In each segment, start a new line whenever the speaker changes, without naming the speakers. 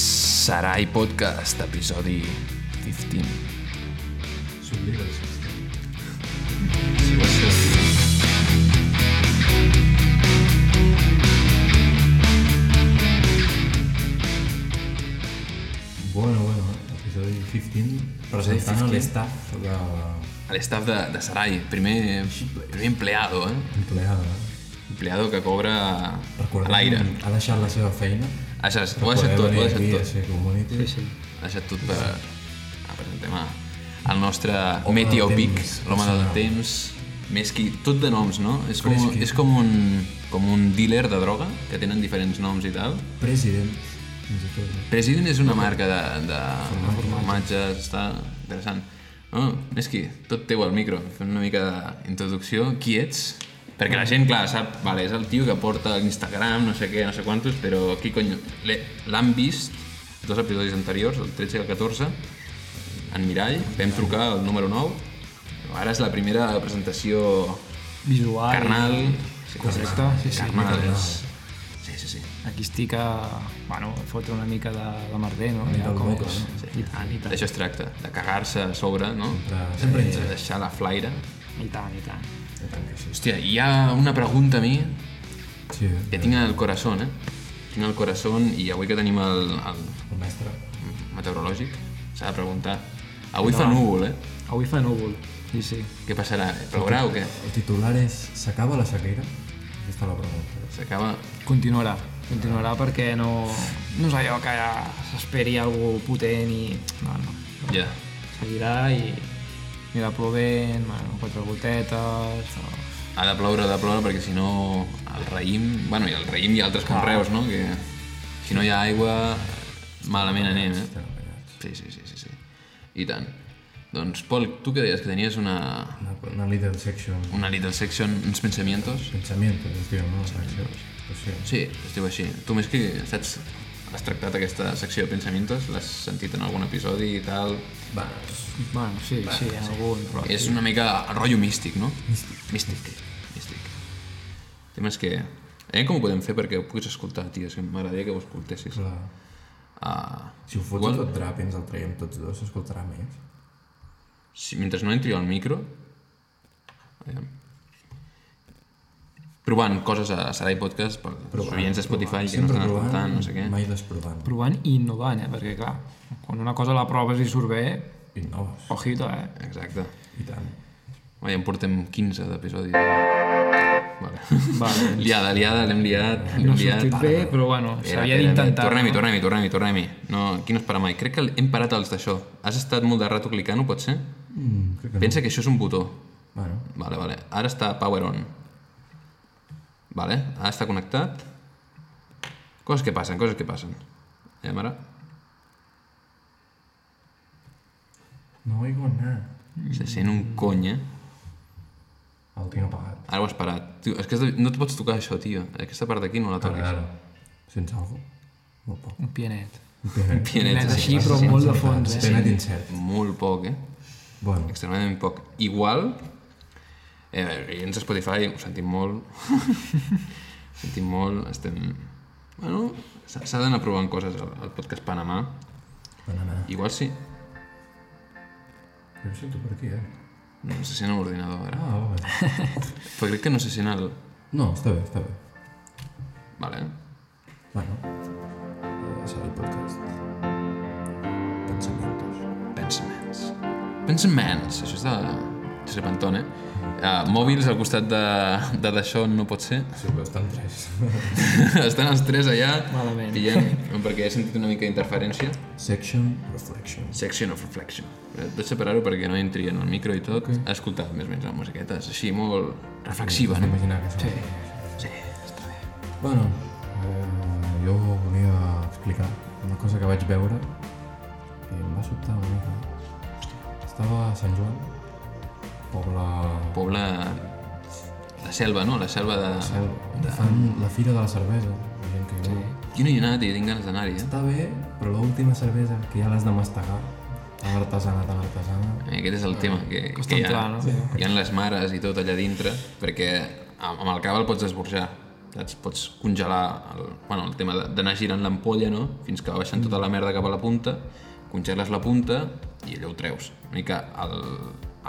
Sarai Podcast, episodi 15.
S'oblida el sistema. Bueno, bueno, episodi 15, presentant
15.
l'estaf de
A l'estaf de, de Sarai, primer, primer empleado, eh?
empleada.
Empleado que cobra
Recordem,
a l'aire.
Ha deixat la seva feina.
Això, és- ho ha deixat tot, ho ha deixat tot.
Sí, community. Sí, sí.
Ho ha deixat tot per a presentem a, el nostre Meteo
del
Pic,
temps,
l'home del
personal.
temps, més qui... Tot de noms, no? És com,
Fresqui.
és com un, com un dealer de droga, que tenen diferents noms i tal.
President, fins i tot. eh?
President és una marca de, de formatges, està interessant. Oh, Neski, tot teu al micro, fem una mica d'introducció. Qui ets? Perquè la gent, clar, sap, vale, és el tio que porta l'Instagram, no sé què, no sé quantos, però qui cony... l'he- L'han vist dos episodis anteriors, el 13 i el 14, en Mirall, vam trucar el número 9, ara és la primera presentació
visual.
carnal,
Correcte, sí, sí.
carnal, és... Sí, sí, sí.
Aquí estic a, bueno, a fotre una mica de, de merder, no?
mica al
com
boca,
és.
no?
I tant, i tant.
D'això es tracta, de cagar-se a sobre, no?
Sempre, sempre
De
ens-
deixar la flaire.
I tant, i tant.
I Eh, tant que sí.
Hòstia, hi ha una pregunta a mi
Sí, eh?
que tinc al corazón, eh? Tinc al corazón i avui que tenim el, el
el mestre.
meteorològic s'ha de preguntar. Avui fa núvol, eh?
Avui fa núvol. Sí, sí.
Què passarà? Plourà o què?
El titular és S'acaba la sequera? Aquesta és la pregunta.
S'acaba...
Continuarà. Continuarà perquè no, no és allò que s'esperi algú potent i... No, no.
Ja.
Seguirà i anirà plovent, bueno, quatre gotetes... O...
Ha de ploure, ha de ploure, perquè si no el raïm... Bueno, i el raïm i altres conreus, no? Que si no hi ha aigua, malament anem, eh?
Estem enganyats.
Sí, sí, sí, sí, sí. I tant. Doncs, Pol, tu què deies? Que tenies una,
Una, una little section.
una little section, uns pensamientos?
Pensamientos, es diu, no? Seccions. Pues sí.
Sí, es diu així. Tu més que saps, has tractat aquesta secció de pensamientos, l'has sentit en algun episodi i tal.
Va, doncs,
Bueno, sí, sí, en algun, però...
És una mica el rotllo místic, no? Místic. Místic. Místic. El tema és que... Eh, com ho podem fer perquè ho puguis escoltar, tio? És que M'agradaria que ho escoltessis.
clar.
Ah,
Si ho fots Igual... tot drap i ens el traiem tots dos, s'escoltarà més.
si, mentre no entri al micro... Aviam. Provant coses a Sarai Podcast per els oients de Spotify que no
Sempre
estan escoltant,
provant,
no sé què.
mai desprovant.
Provant i innovant, eh? Perquè, clar, quan una cosa la proves i surt bé,
Innoves,
ojito, eh?
Exacte.
i tant.
Vaja, en portem 15 d'episodis. Vale.
Vale.
liada, liada, l'hem liat, l'hem
No ha
liat.
sortit bé, però bueno,
Espera,
s'havia
espera,
d'intentar.
Tornem-hi,
no?
tornem-hi, tornem-hi, tornem-hi. No, aquí no es para mai. Crec que hem parat els d'això. Has estat molt de rato clicant, ho pot ser?
Mm, crec que no.
Pensa que això és un botó.
Bueno,
Vale, vale. Ara està power on. Vale, ara està connectat. Coses que passen, coses que passen. Eh, mare?
no oigo nada.
Se sent un cony, eh?
El tinc apagat.
Ara ho has parat. Tio, és que has de- no et pots tocar això, tio. Aquesta part d'aquí no la toquis.
Ara, Sents alguna cosa? Molt poc.
Un pianet.
Penet,
Pianet
Pianeta, sí.
així, però molt de fons, eh?
Penet incert.
Molt poc, eh?
Bueno,
extremadament poc. Igual, eh, oients de Spotify, ho sentim molt, ho sentim molt, estem... Bueno, s'ha s'ha d'anar provant coses al, al podcast Panamà.
bueno, nada.
Igual sí,
Jo ho sento per aquí, eh?
no se sent a l'ordinador ara.
Ah, vale.
Però crec que no se sent el...
No, està bé, està bé.
Vale,
Bueno, eh, serà el podcast. Pensamientos.
pensaments. Pensaments, això és de Serpentón, eh? Uh, mòbils al costat de- de d'això no pot ser.
Sí, però estan tres.
Estan els tres allà,
Malament.
pillant, perquè he sentit una mica d'interferència.
Section Reflections.
Section of Reflection. Eh, Vaig separar-ho perquè no entri en el micro i tot. Okay. He escoltat més o menys la musiqueta, és així molt reflexiva, no?
Imaginar que són... Sí.
Sí, està bé.
Bueno, eh, jo volia explicar una cosa que vaig veure i em va sobtar una mica. Estava a Sant Joan, poble...
Poble... La selva, no? La selva de...
Cel, fan la fira de la cervesa, la gent que hi veu.
Jo no hi he anat i tinc ganes d'anar-hi, eh?
Està bé, però l'última cervesa que ja l'has de mastegar, tan artesana, tan artesana...
Eh, Aquest és el tema, que,
Costa
que hi ha,
entrar, no? Sí.
hi ha les mares i tot allà dintre, perquè amb amb el cava el pots esborjar, saps? Pots congelar el, bueno, el tema de- d'anar girant l'ampolla, no? Fins que va baixant tota la merda cap a la punta, congeles la punta i allò ho treus. Una mica el,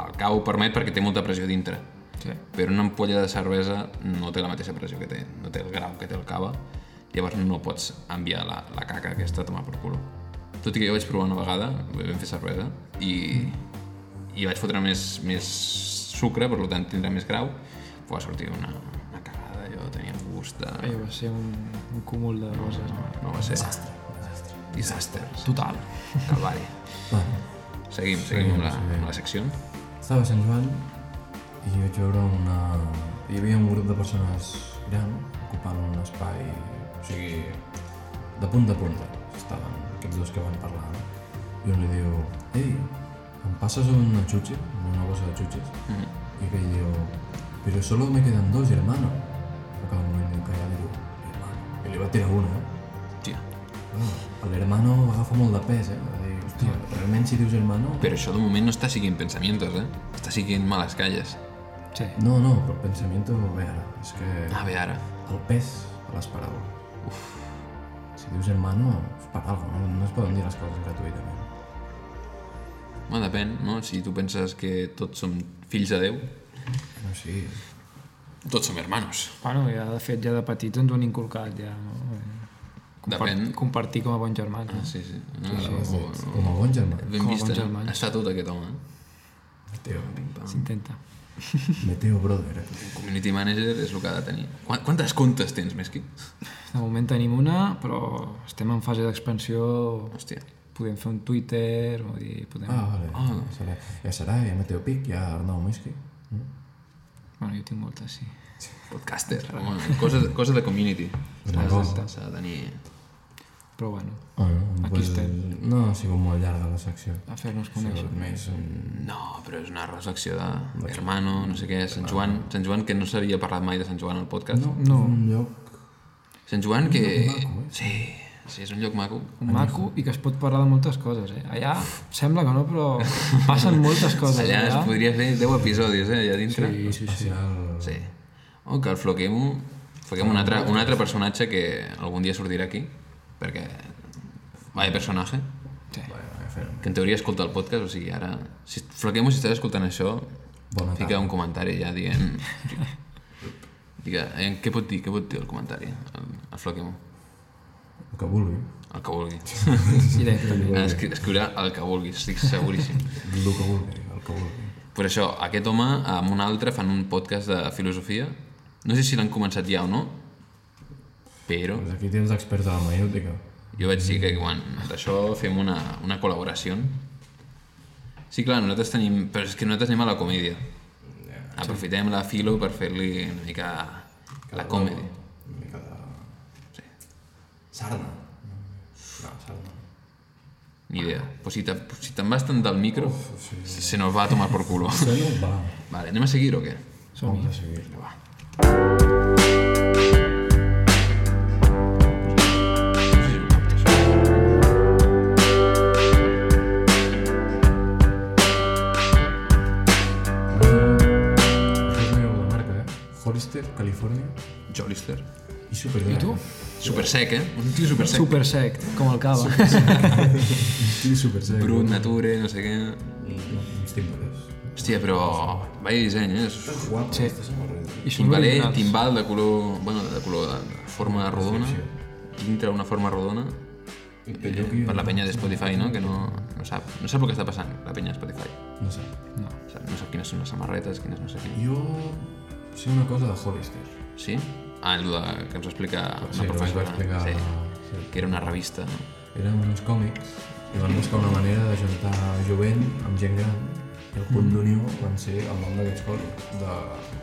el cau permet perquè té molta pressió dintre.
Sí.
Però una ampolla de cervesa no té la mateixa pressió que té, no té el grau que té el cava, llavors no pots enviar la, la caca aquesta a tomar per culo. Tot i que jo vaig provar una vegada, vam fer cervesa, i, i vaig fotre més, més sucre, per lo tant tindrà més grau, però va sortir una, una cagada, jo tenia un gust de...
Allò va ser un, un cúmul de coses. No?
No va ser... Desastre. Desastre.
Total.
Calvari.
Va,
Seguim, seguim amb la, amb la secció.
Estava a Sant Joan i vaig veure una... Hi havia un grup de persones gran ocupant un espai, o sigui, de punta a punta. Estaven aquests dos que van parlar, no? I un li diu, ei, em passes un xutxi, una bossa de xutxis?
Mm.
I aquell diu, però solo me quedan dos, hermano. A cada moment diu, calla, diu, hermano. I li va tirar una, eh?
Hòstia.
Oh, L'hermano agafa molt de pes, eh? Va dir, hòstia, realment si dius hermano...
Però això de moment no està siguent pensamientos, eh? Està siguent males calles.
Sí.
No, no, però el pensamiento, ve ara, és que...
A veure, ara.
el pes de les paraules. Uf. Si dius hermano, és per alguna no? no es poden dir les coses gratuïtament.
Bueno, depèn, no? Si tu penses que tots som fills de Déu,
No, sí.
tots som hermanos.
Bueno, ja, de fet, ja de petits ens ho han inculcat, ja. No?
Depèn. Ah,
Compartir com a bons germans. No?
Sí, sí. No, sí, sí,
Com, com a bon germà.
Ben
Com a
vist,
bons
eh?
germans.
Es fa tot aquest home, eh?
Meteo.
S'intenta.
Meteo brother.
Un community manager és el que ha de tenir. Quan- Quantes comptes tens, Meski?
De moment tenim una, però estem en fase d'expansió.
Hòstia.
Podem fer un Twitter, vull dir, podem...
Ah, vale. Ah. Ja serà, ja, serà, ja Meteo Pic, ja Arnau Mm. Mesqui.
Bueno, jo tinc moltes, sí.
Podcaster. Home, cosa, cosa de community.
Exacte.
S'ha de tenir...
Però bueno,
Ah, no,
Aquí
pues,
estem.
no ha sigut molt llarga la secció.
a fer-nos
Ha
conèixer.
sigut més un...
No, però és una reflexió de hermano, no sé què, Sant Joan, Sant Joan que no s'havia parlat mai de Sant Joan al podcast. No.
No,
un lloc...
Sant Joan que... Sí, sí, és un lloc maco.
un maco i que es pot parlar de moltes coses, eh? Allà sembla que no, però passen moltes coses.
Allà es podria fer 10 episodis, eh, allà dintre.
Sí, sí, sí.
Sí. O Oh, que el floquem, floquem un, altre, un altre personatge que algun dia sortirà aquí, perquè... Vaya personatge,
Sí.
que en teoria escolta el podcast, o sigui, ara... Si floquem si estàs escoltant això,
Bona
fica un comentari ja dient... Diga, eh, què pot dir, què pot dir el comentari, el, el floquem,
El que vulgui.
el que vulgui.
Directament.
Escri escriurà el que vulgui, estic seguríssim.
El que vulgui, el que vulgui.
Per això, aquest home amb un altre fan un podcast de filosofia. No sé si l'han començat ja o no, però...
Doncs aquí tens experts de la mayútica.
Jo vaig dir que quan d'això fem una, una col·laboració. Sí, clar, nosaltres tenim... Però és que nosaltres anem a la comèdia. Aprofitem la filo per fer-li una mica la comèdia.
Una mica de... Sí. Sarna. No, sarna.
Ni idea. Però si te- si te'n vas tant del micro, se nos va a tomar por culo.
Bueno, va.
Vale, anem a seguir o què?
Som-hi.
Vamos a seguir-lo, va. Això és meu, la marca, eh? Hollister, Califòrnia
Jolister.
i Superdry. I tu?
Super sec, eh? Un tio super sec.
Super sec, com el cava.
Sí, Superdry.
Brut, nature, no sé què...
Uns timbres.
Hòstia, però... Vaya disseny, eh? És
Guapo. Sí.
I són
Timbaler,
originals.
eh? timbal de color... Bueno, de color de forma rodona. Dintre una forma rodona. Eh, per la penya de Spotify, no? Que no, no sap. No sap el que està passant, la penya de Spotify.
No sé.
No.
Sap, no sap quines són les samarretes, quines no sé què.
Jo sé una cosa de Hollister.
Sí? Ah, el de, que ens va explicar una
Sí, ho vaig
professora.
explicar... Sí.
Sí. Que era una revista, no?
Eren uns còmics i van buscar una manera de juntar jovent amb gent gran i el
Mm.
punt d'unió van ser el nom d'aquests còmics de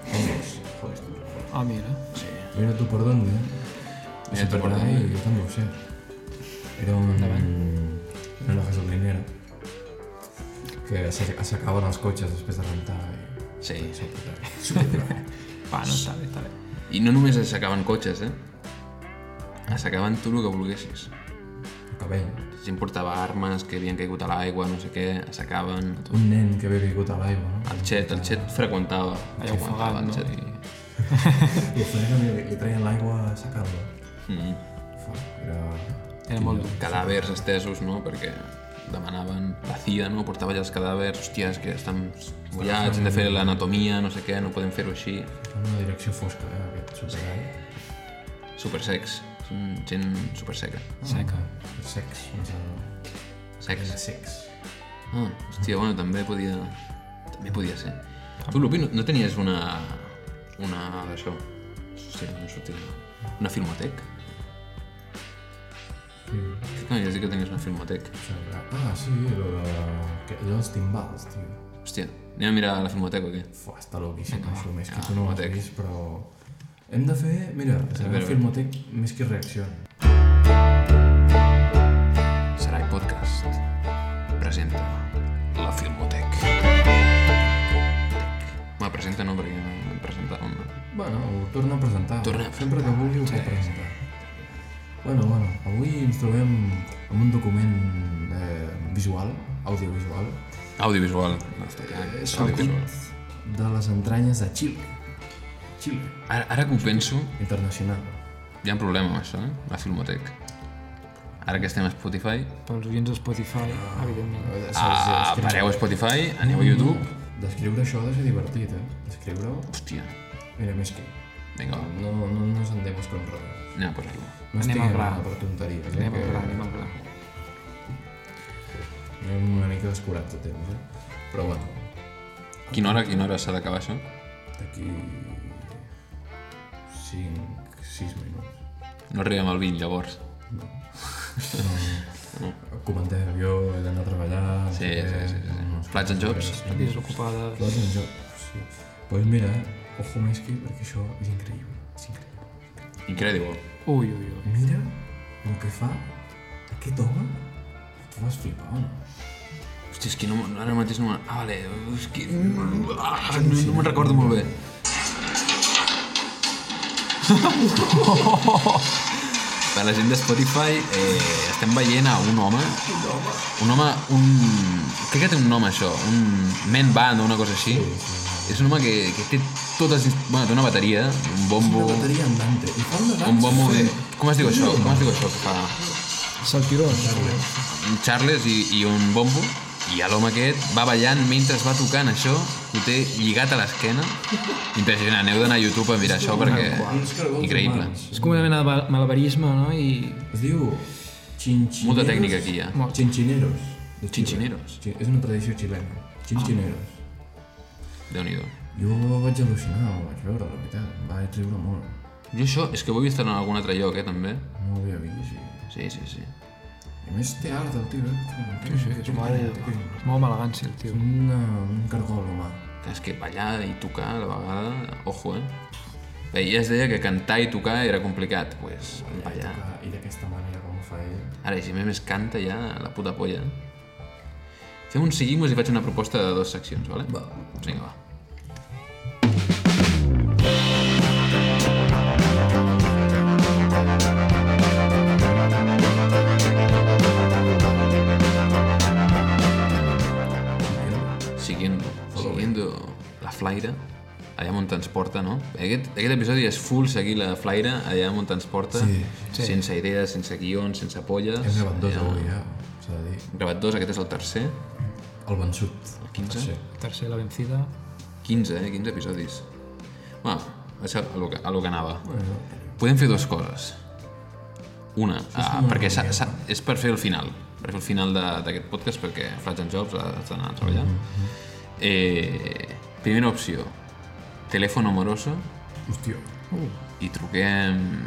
còmics. Joder,
Ah, mira.
Sí.
Mira tu per d'on, eh?
Mira
Mira
tu
tu
per
per
d'on.
d'on. Jo també ho sé. Era un... Era una gasolinera que s'ac- s'acaben els cotxes després de rentar i...
Sí.
Superdry.
Va, no, està bé, està bé.
I no només s'acaben cotxes, eh? S'acaben tu el que volguessis.
El cabell.
Gent portava armes que havien caigut a l'aigua, no sé què, s'acaben...
Un nen que havia caigut a l'aigua, no? Ah,
El Chet, el Chet freqüentava.
Allà ofegat,
freqüentava el
no?
Chet.
I...
I el freguen i li, li treien l'aigua a sacar-lo.
Mm.
Fuck, era...
Era molt dur.
Cadàvers estesos, no? Perquè demanaven la CIA, no? Portava ja els cadàvers, hòstia, és que estan mullats, hem de fer l'anatomia, no sé què, no podem fer-ho així.
En una direcció fosca, eh, aquest superheroi.
Supersecs. Són gent superseca.
Seca. Sex. Mm. no sé.
Secs.
Sex.
Ah, hòstia, bueno, també podia... També podia ser. Tu, Lupi, no, no tenies una... Una d'això? Hòstia, no em sortia. Una filmotec?
Sí.
Què conya has dit que tenies una filmotec?
Ah, sí, lo de... que- Allò dels timbals, tio.
Hòstia, anem a mirar la filmoteca o què?
Fua, està loquíssim, això, més que tu no ho has vist, però... Hem de fer, mira, serà
Ah, veure.
un filmotec més que reacció.
Serà el podcast. Presenta la filmotec. Ma, presenta no, perquè no hem presentat un...
Bueno, ho torna a presentar.
Torna a
Sempre que vulgui ho pot presentar. Bueno, bueno, avui ens trobem amb un document eh, visual, audiovisual,
Audiovisual.
eh,
Audiovisual.
sortit de les entranyes de Xile. Xile.
Ara, ara que ho penso,
Internacional.
hi ha un problema amb això, eh? La filmotec. Ara que estem a Spotify,
Pels oients de Spotify, evidentment.
Eh,
Ah,
saps,
pareu a Escriu- Spotify, aneu a YouTube.
Descriure això ha de ser divertit, eh? Descriure-ho...
Hòstia,
Mira, més que...
vinga, va.
No, no, no ens endemos con rodes.
anem a posar-lo.
No
Anem
estic
al gra.
per tonteries, eh?
Anem al
que-
gra, anem al gra.
Anem una mica descurat de temps, eh? Però bueno,
Quina hora, quina hora s'ha d'acabar això?
d'aquí... 5, 6 minuts.
No arribem al 20, llavors.
Comentem, jo he d'anar a treballar... no
Sí,
sé
sí,
què,
sí, sí.
no sé
Plats and
què,
jocs.
no sé què.
Desocupades.
Plats en jocs, sí. Doncs pues mira, ojo més que, perquè això és increïble. És increïble.
Incredible.
Ui, ui, ui.
Mira el que fa aquest home. Tu vas flipar, o no?
Hòstia, és que no, me- ara mateix no me'n... Ah, vale, és que... Ah, no, no me'n recordo molt bé. Per la gent de Spotify eh, estem veient a un home... Un home? Un home, un... Crec que té un nom això, un man band o una cosa així. És un home que, que té totes... les- Bueno, té una bateria, un bombo...
Una bateria andante. I fa una dansa.
Un bombo de... Com es diu això? Com es diu això que fa?
Saltirons. eh?
Un Charles i, i un bombo i a l'home aquest va ballant mentre es va tocant això, ho té lligat a l'esquena. Impressionant, heu d'anar a YouTube a mirar això perquè...
Uns cargols
Increïble.
humans.
És com una mena de mal- malabarisme, no? I
Es diu... Chinchineros.
Molta tècnica aquí, ja.
Molt.
Chinchineros. de Xile.
Chinchineros. Ah.
Sí, És una tradició xilena. Chinchineros.
Déu-n'hi-do.
Jo vaig al·lucinar, ho vaig veure, la veritat. Em vaig riure molt.
Jo això és que ho he vist en algun altre lloc, eh, també.
No ho havia vist, sí.
Sí, sí, sí.
I a més té art, el tio, eh? Sí, sí, és molt...
es mou amb elegància, el tio.
Una, un cargol humà.
És que ballar i tocar a la vegada... Ojo, eh? Bé, ja es deia que cantar i tocar era complicat, doncs pues, ballar.
Ah, I d'aquesta manera com ho fa ell.
Ara, si a més canta ja, la puta polla. eh. Fem un seguimos i faig una proposta de dues seccions, vale? Va. Vinga, va. Siguiendo, siguiendo la flaire, allà on ens porta, no? Aquest, aquest episodi és full seguir la flaire, allà on ens porta,
Sí,
sense idees, sense guions, sense polles.
Hem gravat dos
allà.
avui, ja. S'ha de dir.
Hem gravat dos, aquest és el tercer.
El vençut. El
15?
Tercer, la vencida.
15, eh? 15 episodis. Va, això a lo que, a lo que anava.
Bueno,
Podem fer dues coses. Una, ah, perquè s'ha- s'ha- és per fer el final. Per fer el final de- d'aquest podcast, perquè Flats and Jobs has d'anar a treballar. eh, primera opció, telèfon amoroso
hòstia.
i truquem...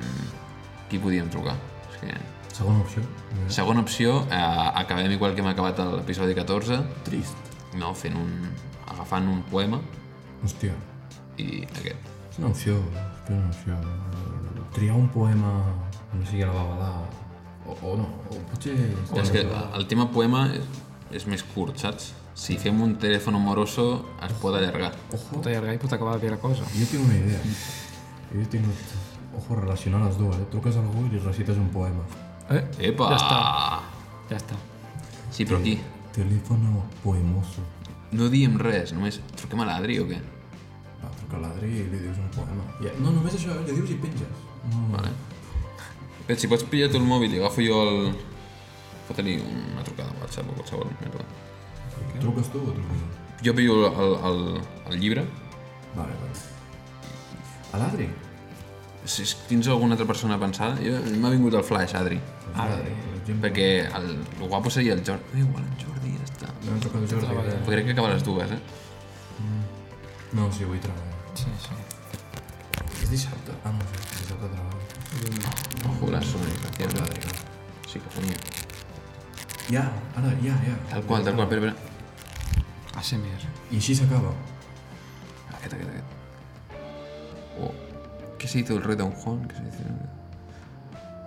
Qui podíem trucar? És que...
Segona opció.
Segona opció, eh, acabem igual que hem acabat l'episodi 14,
Trist.
no, fent un... agafant un poema
Hòstia.
i aquest.
És una opció, és una opció. Triar un poema, no sé si la va avalar, o, o no, o potser...
Clar, és que el tema poema és, és més curt, saps? Si fem un telèfon amoroso es pot allargar.
Ojo,
Pot allargar i pot acabar bé la cosa.
jo tinc una idea. Jo tinc... Ojo, relacionar les dues, eh? Truques a algú i li recites un poema.
Eh?
Epa!
Ja està. Ja està.
Sí, però aquí
Telèfono poemoso.
no diem res, només truquem a l'Adri o què?
Va, truquem truca a l'Adri i li dius un poema. I, no, només això, eh? li dius i penges. Mm. No.
Vale. Pet, si pots pillar tu el mòbil i agafo jo el... Pot tenir una trucada a WhatsApp o qualsevol merda.
Truques tu o truques ell?
Jo pillo el, el, el, el llibre.
Vale, vale. A l'Adri?
Si es- tens alguna altra persona pensada, jo m'ha vingut el flash, Adri.
Doncs l'Adri, per exemple.
Perquè el, el guapo seria el Jordi. Eh, igual el Jordi ja està.
No hem trucat Jordi.
Treballa.
Però crec que acaba a les dues, eh?
No, sí, avui treballo.
Sí, sí.
És dissabte? Ah, no, sí, dissabte treballo.
Ojo, les sonoritats.
L'Adri, clar.
Sí, que fonia.
Ja, ara, ja, ja.
Tal qual, tal qual, espera, espera.
ASMR.
I així s'acaba.
Aquest, aquest, aquest. Oh. ¿Qué se hizo el rey Don Juan? ¿Qué se hizo?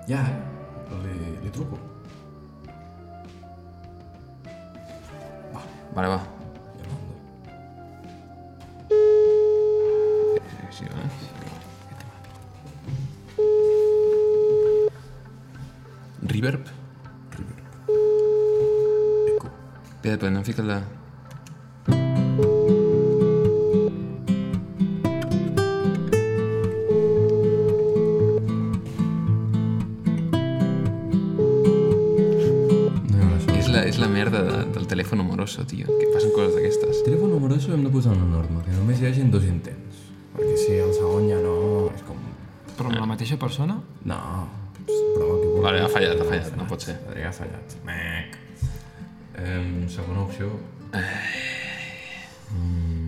Ja, eh? Li, li truco.
Vale, va.
Ja mando.
Sí, sí, vale. Reverb?
Eco.
Espera, però no fica la...
No hi haurà això.
És la, és la merda de, del telèfon amoroso, tio, que passen coses d'aquestes.
Telèfon amoroso hem de posar una norma, que només hi hagin dos intents. Perquè si el segon ja no, és com...
Però amb la mateixa persona?
No, prova que vulgui.
Vale, ha fallat, ha fallat, no pot ser.
Adrià ha fallat. Mec. Um, segona opció,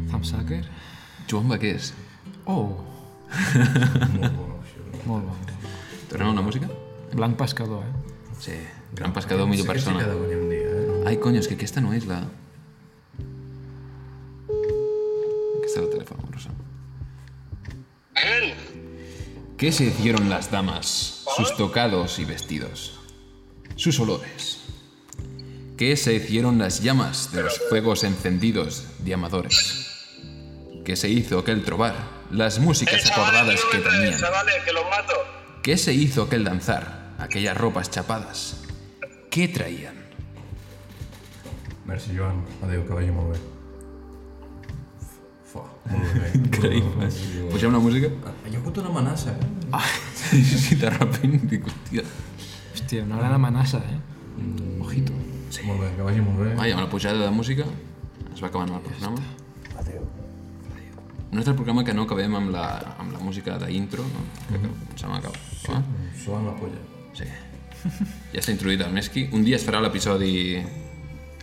Thumbsucker?
Joan Baqués.
Oh,
molt bona opció.
molt bo.
Tornem a una música?
Blanc pescador, eh?
Sí. Gran pescador, millor
Sí que sí que
persona.
ha de venir un dia, eh?
Ai, coño, és que aquesta no és la... Aquesta és el telèfon amoroso.
Ángel,
¿Qué se hicieron las damas? Sus tocados y vestidos. Sus olores. ¿Qué se hicieron las llamas de los fuegos encendidos de amadores? ¿Qué se hizo aquel trobar? Las músicas acordadas que tenían.
Chavales, que los mato.
¿Qué se hizo aquel danzar? Aquellas ropas chapadas. ¿Qué traían?
Merci, Joan. Adéu, que vagi molt bé. Fuà, molt bé. Increïble.
¿Pues una música?
Hi ha hagut una amenaça, eh?
Si de repente digo, tío.
Hòstia, una gran amenaça, eh?
Ojito.
Sí. Molt bé, que vagi molt bé.
Vaya, una pujada de música. Es va acabant el programa.
Adéu.
No és el programa que no acabem amb la, amb la música d'intro, no? Crec que em sembla que... Sí.
Suant la polla.
Ah, sí. Ja està introduït el Meski. Un dia es farà l'episodi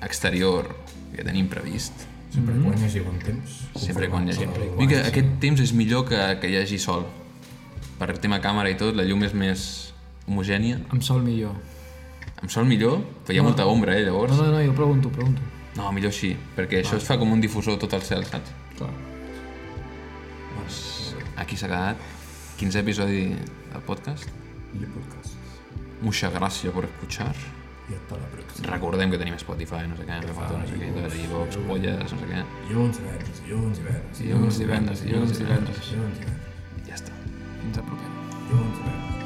exterior que tenim previst.
Sempre mm -hmm. guanyes i bon temps.
Sempre
Conforme
quan hi hagi.
el
Vull dir que aquest temps és millor que, que hi hagi sol. Per tema càmera i tot, la llum és més homogènia.
Amb sol millor.
Amb sol millor, però hi ha molta ombra, eh,
No,
llavors.
no, no, jo pregunto, pregunto.
No, millor així, perquè això es fa com un difusor tot el cel, saps?
Clar. Doncs
Aquí s'ha quedat 15 episodi del podcast.
Le podcast.
Mucha gracia por escuchar.
I hasta la pròxima.
Recordem que tenim Spotify, no sé què, que no sé què, tot, iVox, polles, no sé què,
Dilluns, divendres, dilluns, divendres.
Doncs
Dilluns, divendres, dilluns, divendres.
Dilluns, divendres.
i ja està.
Fins a propera.
Dilluns, divendres.